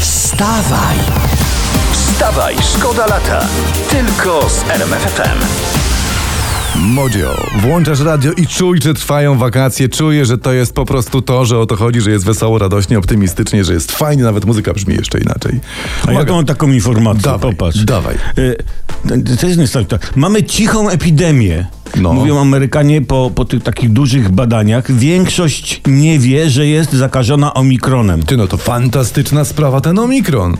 Wstawaj! Wstawaj, szkoda lata. Tylko z RMFFM. Modzio, włączasz radio i czuj, że trwają wakacje. Czuję, że to jest po prostu to, że o to chodzi, że jest wesoło, radośnie, optymistycznie, że jest fajnie, nawet muzyka brzmi jeszcze inaczej. A Uwaga. jaką mam taką informację? Dawaj, Popatrz. dawaj. Y, to- To jest niesamowite. Mamy cichą epidemię. No. Mówią Amerykanie po, po tych takich dużych badaniach. Większość nie wie, że jest zakażona omikronem. Ty, no to fantastyczna sprawa ten Omikron.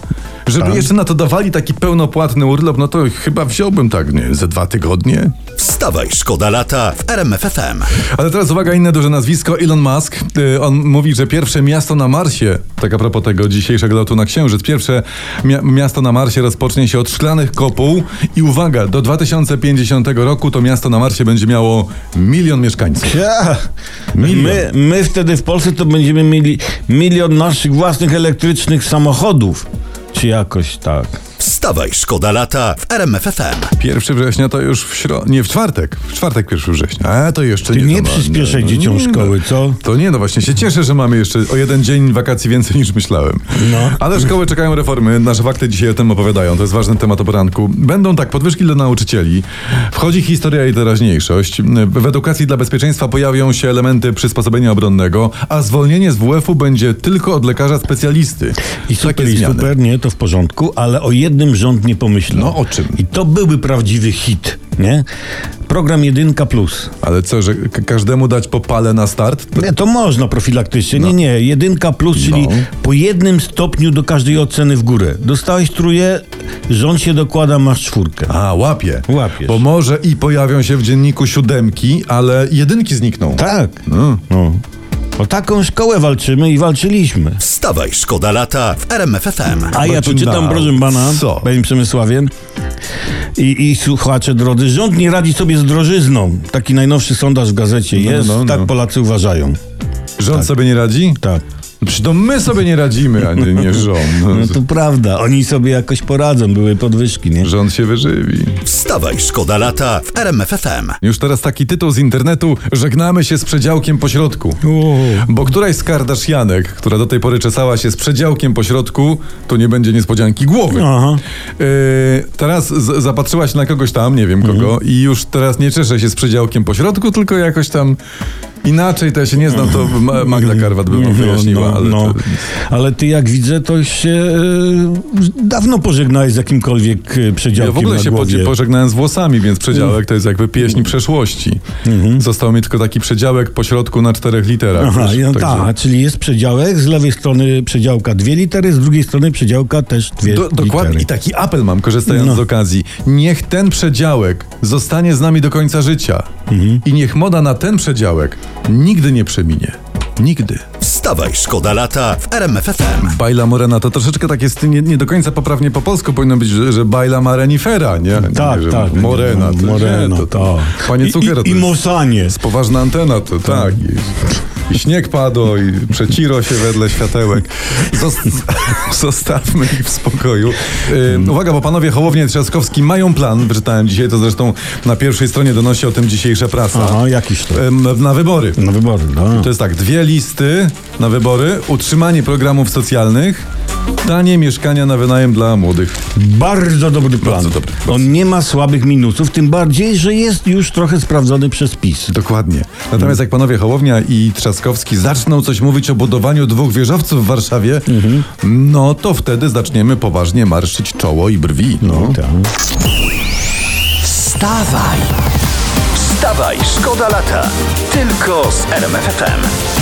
Żeby jeszcze na to dawali taki pełnopłatny urlop, no to chyba wziąłbym tak, nie wiem, ze dwa tygodnie. Wstawaj, szkoda lata w RMFFM. Ale teraz uwaga, inne duże nazwisko, Elon Musk. Y, On mówi, że pierwsze miasto na Marsie, tak a propos tego dzisiejszego lotu na Księżyc, pierwsze mia- miasto na Marsie rozpocznie się od szklanych kopuł i uwaga, do 2050 roku to miasto na Marsie będzie miało milion mieszkańców. Ja. Milion. My, my wtedy w Polsce to będziemy mieli milion naszych własnych elektrycznych samochodów. Czy jakoś tak. Wstawaj, szkoda lata w RMFFM. 1 września to już w śro... nie, w czwartek, w czwartek 1 września, a to jeszcze nie. nie to ma- przyspieszaj no, dzieciom nie, no. szkoły, co? To nie, no właśnie się cieszę, że mamy jeszcze o jeden dzień wakacji więcej niż myślałem. No. Ale szkoły czekają reformy, nasze fakty dzisiaj o tym opowiadają, to jest ważny temat o poranku. Będą tak, podwyżki dla nauczycieli, wchodzi historia i teraźniejszość, w edukacji dla bezpieczeństwa pojawią się elementy przysposobienia obronnego, a zwolnienie z WF-u będzie tylko od lekarza specjalisty. I super, Takie i zmiany. super, nie, to w porządku, ale o jednym rząd nie pomyślał. No, o czym? I to byłby prawdziwy hit, nie? Program Jedynka Plus. Ale co, że k- każdemu dać po pale na start? Nie, to można profilaktycznie. Nie, nie. Jedynka plus, czyli No. po jednym stopniu do każdej oceny w górę. Dostałeś trójkę, rząd się dokłada, masz czwórkę. A, łapie. Łapiesz. Bo może i pojawią się w dzienniku siódemki, ale jedynki znikną. Tak. Mm. No. O taką szkołę walczymy i walczyliśmy. Wstawaj, szkoda lata w RMFFM. A ja tu Marcin czytam, Dał. proszę pana, Co? panie Przemysławie i, i słuchacze drodzy, rząd nie radzi sobie z drożyzną. Taki najnowszy sondaż w gazecie No, jest, no, no. tak Polacy uważają. Rząd sobie nie radzi? Tak. Przecież to my sobie nie radzimy, a nie, nie rząd. No to prawda, oni sobie jakoś poradzą, były podwyżki, nie? Rząd się wyżywi. Wstawaj, szkoda lata w RMFFM. Już teraz taki tytuł z internetu Żegnamy się z przedziałkiem pośrodku. Bo któraś z Kardashianek, która do tej pory czesała się z przedziałkiem pośrodku, to nie będzie niespodzianki głowy. Aha. Yy, teraz z- zapatrzyła się na kogoś tam, nie Mhm. wiem kogo, i już teraz nie czeszę się z przedziałkiem pośrodku, tylko jakoś tam inaczej, to ja się nie znam, to Mhm. Ma- Magda Karwat by wam wyjaśniła, ale to... no, ale ty jak widzę, to się e, dawno pożegnałeś z jakimkolwiek e, przedziałkiem Ja w ogóle na się po- głowie. Mhm. pożegnałem z włosami, więc przedziałek to jest jakby pieśń przeszłości. Został mi tylko taki przedziałek po środku na czterech literach. Aha, wiesz, ja, także- tak, czyli jest przedziałek, z lewej strony przedziałka dwie litery, z drugiej strony przedziałka też dwie Do, litery. dokładnie. tak I taki apel mam, korzystając No. z okazji. Niech ten przedziałek zostanie z nami do końca życia. Mhm. I niech moda na ten przedziałek nigdy nie przeminie. Nigdy. Wstawaj, szkoda lata w RMFFM. Bajla Morena to troszeczkę tak jest nie, nie do końca poprawnie po polsku powinno być, że, że bajla marenifera, nie? Tak, nie, że tak. Morena. To, Morena, nie, to, to, tak. Panie Cukier, I, i, i Mosanie. Poważna antena to tak. I, i śnieg padło i przeciro się wedle światełek. Zos, zostawmy ich w spokoju. Yy, uwaga, bo panowie Hołownia i Trzaskowski mają plan, wyczytałem dzisiaj, to zresztą na pierwszej stronie donosi o tym dzisiejsza prasa. Aha, jakiś to. Ym, na wybory. No wybory, no. To jest tak, dwie listy na wybory, utrzymanie programów socjalnych, tanie mieszkania na wynajem dla młodych. Bardzo dobry plan. Bardzo dobry, bardzo. On nie ma słabych minusów, tym bardziej, że jest już trochę sprawdzony przez PiS. Dokładnie. Natomiast jak panowie Hołownia i Trzaskowski zaczną coś mówić o budowaniu dwóch wieżowców w Warszawie, no to wtedy zaczniemy poważnie marszyć czoło i brwi. No. Tak. Wstawaj! Wstawaj, szkoda lata! Tylko z RMFFM.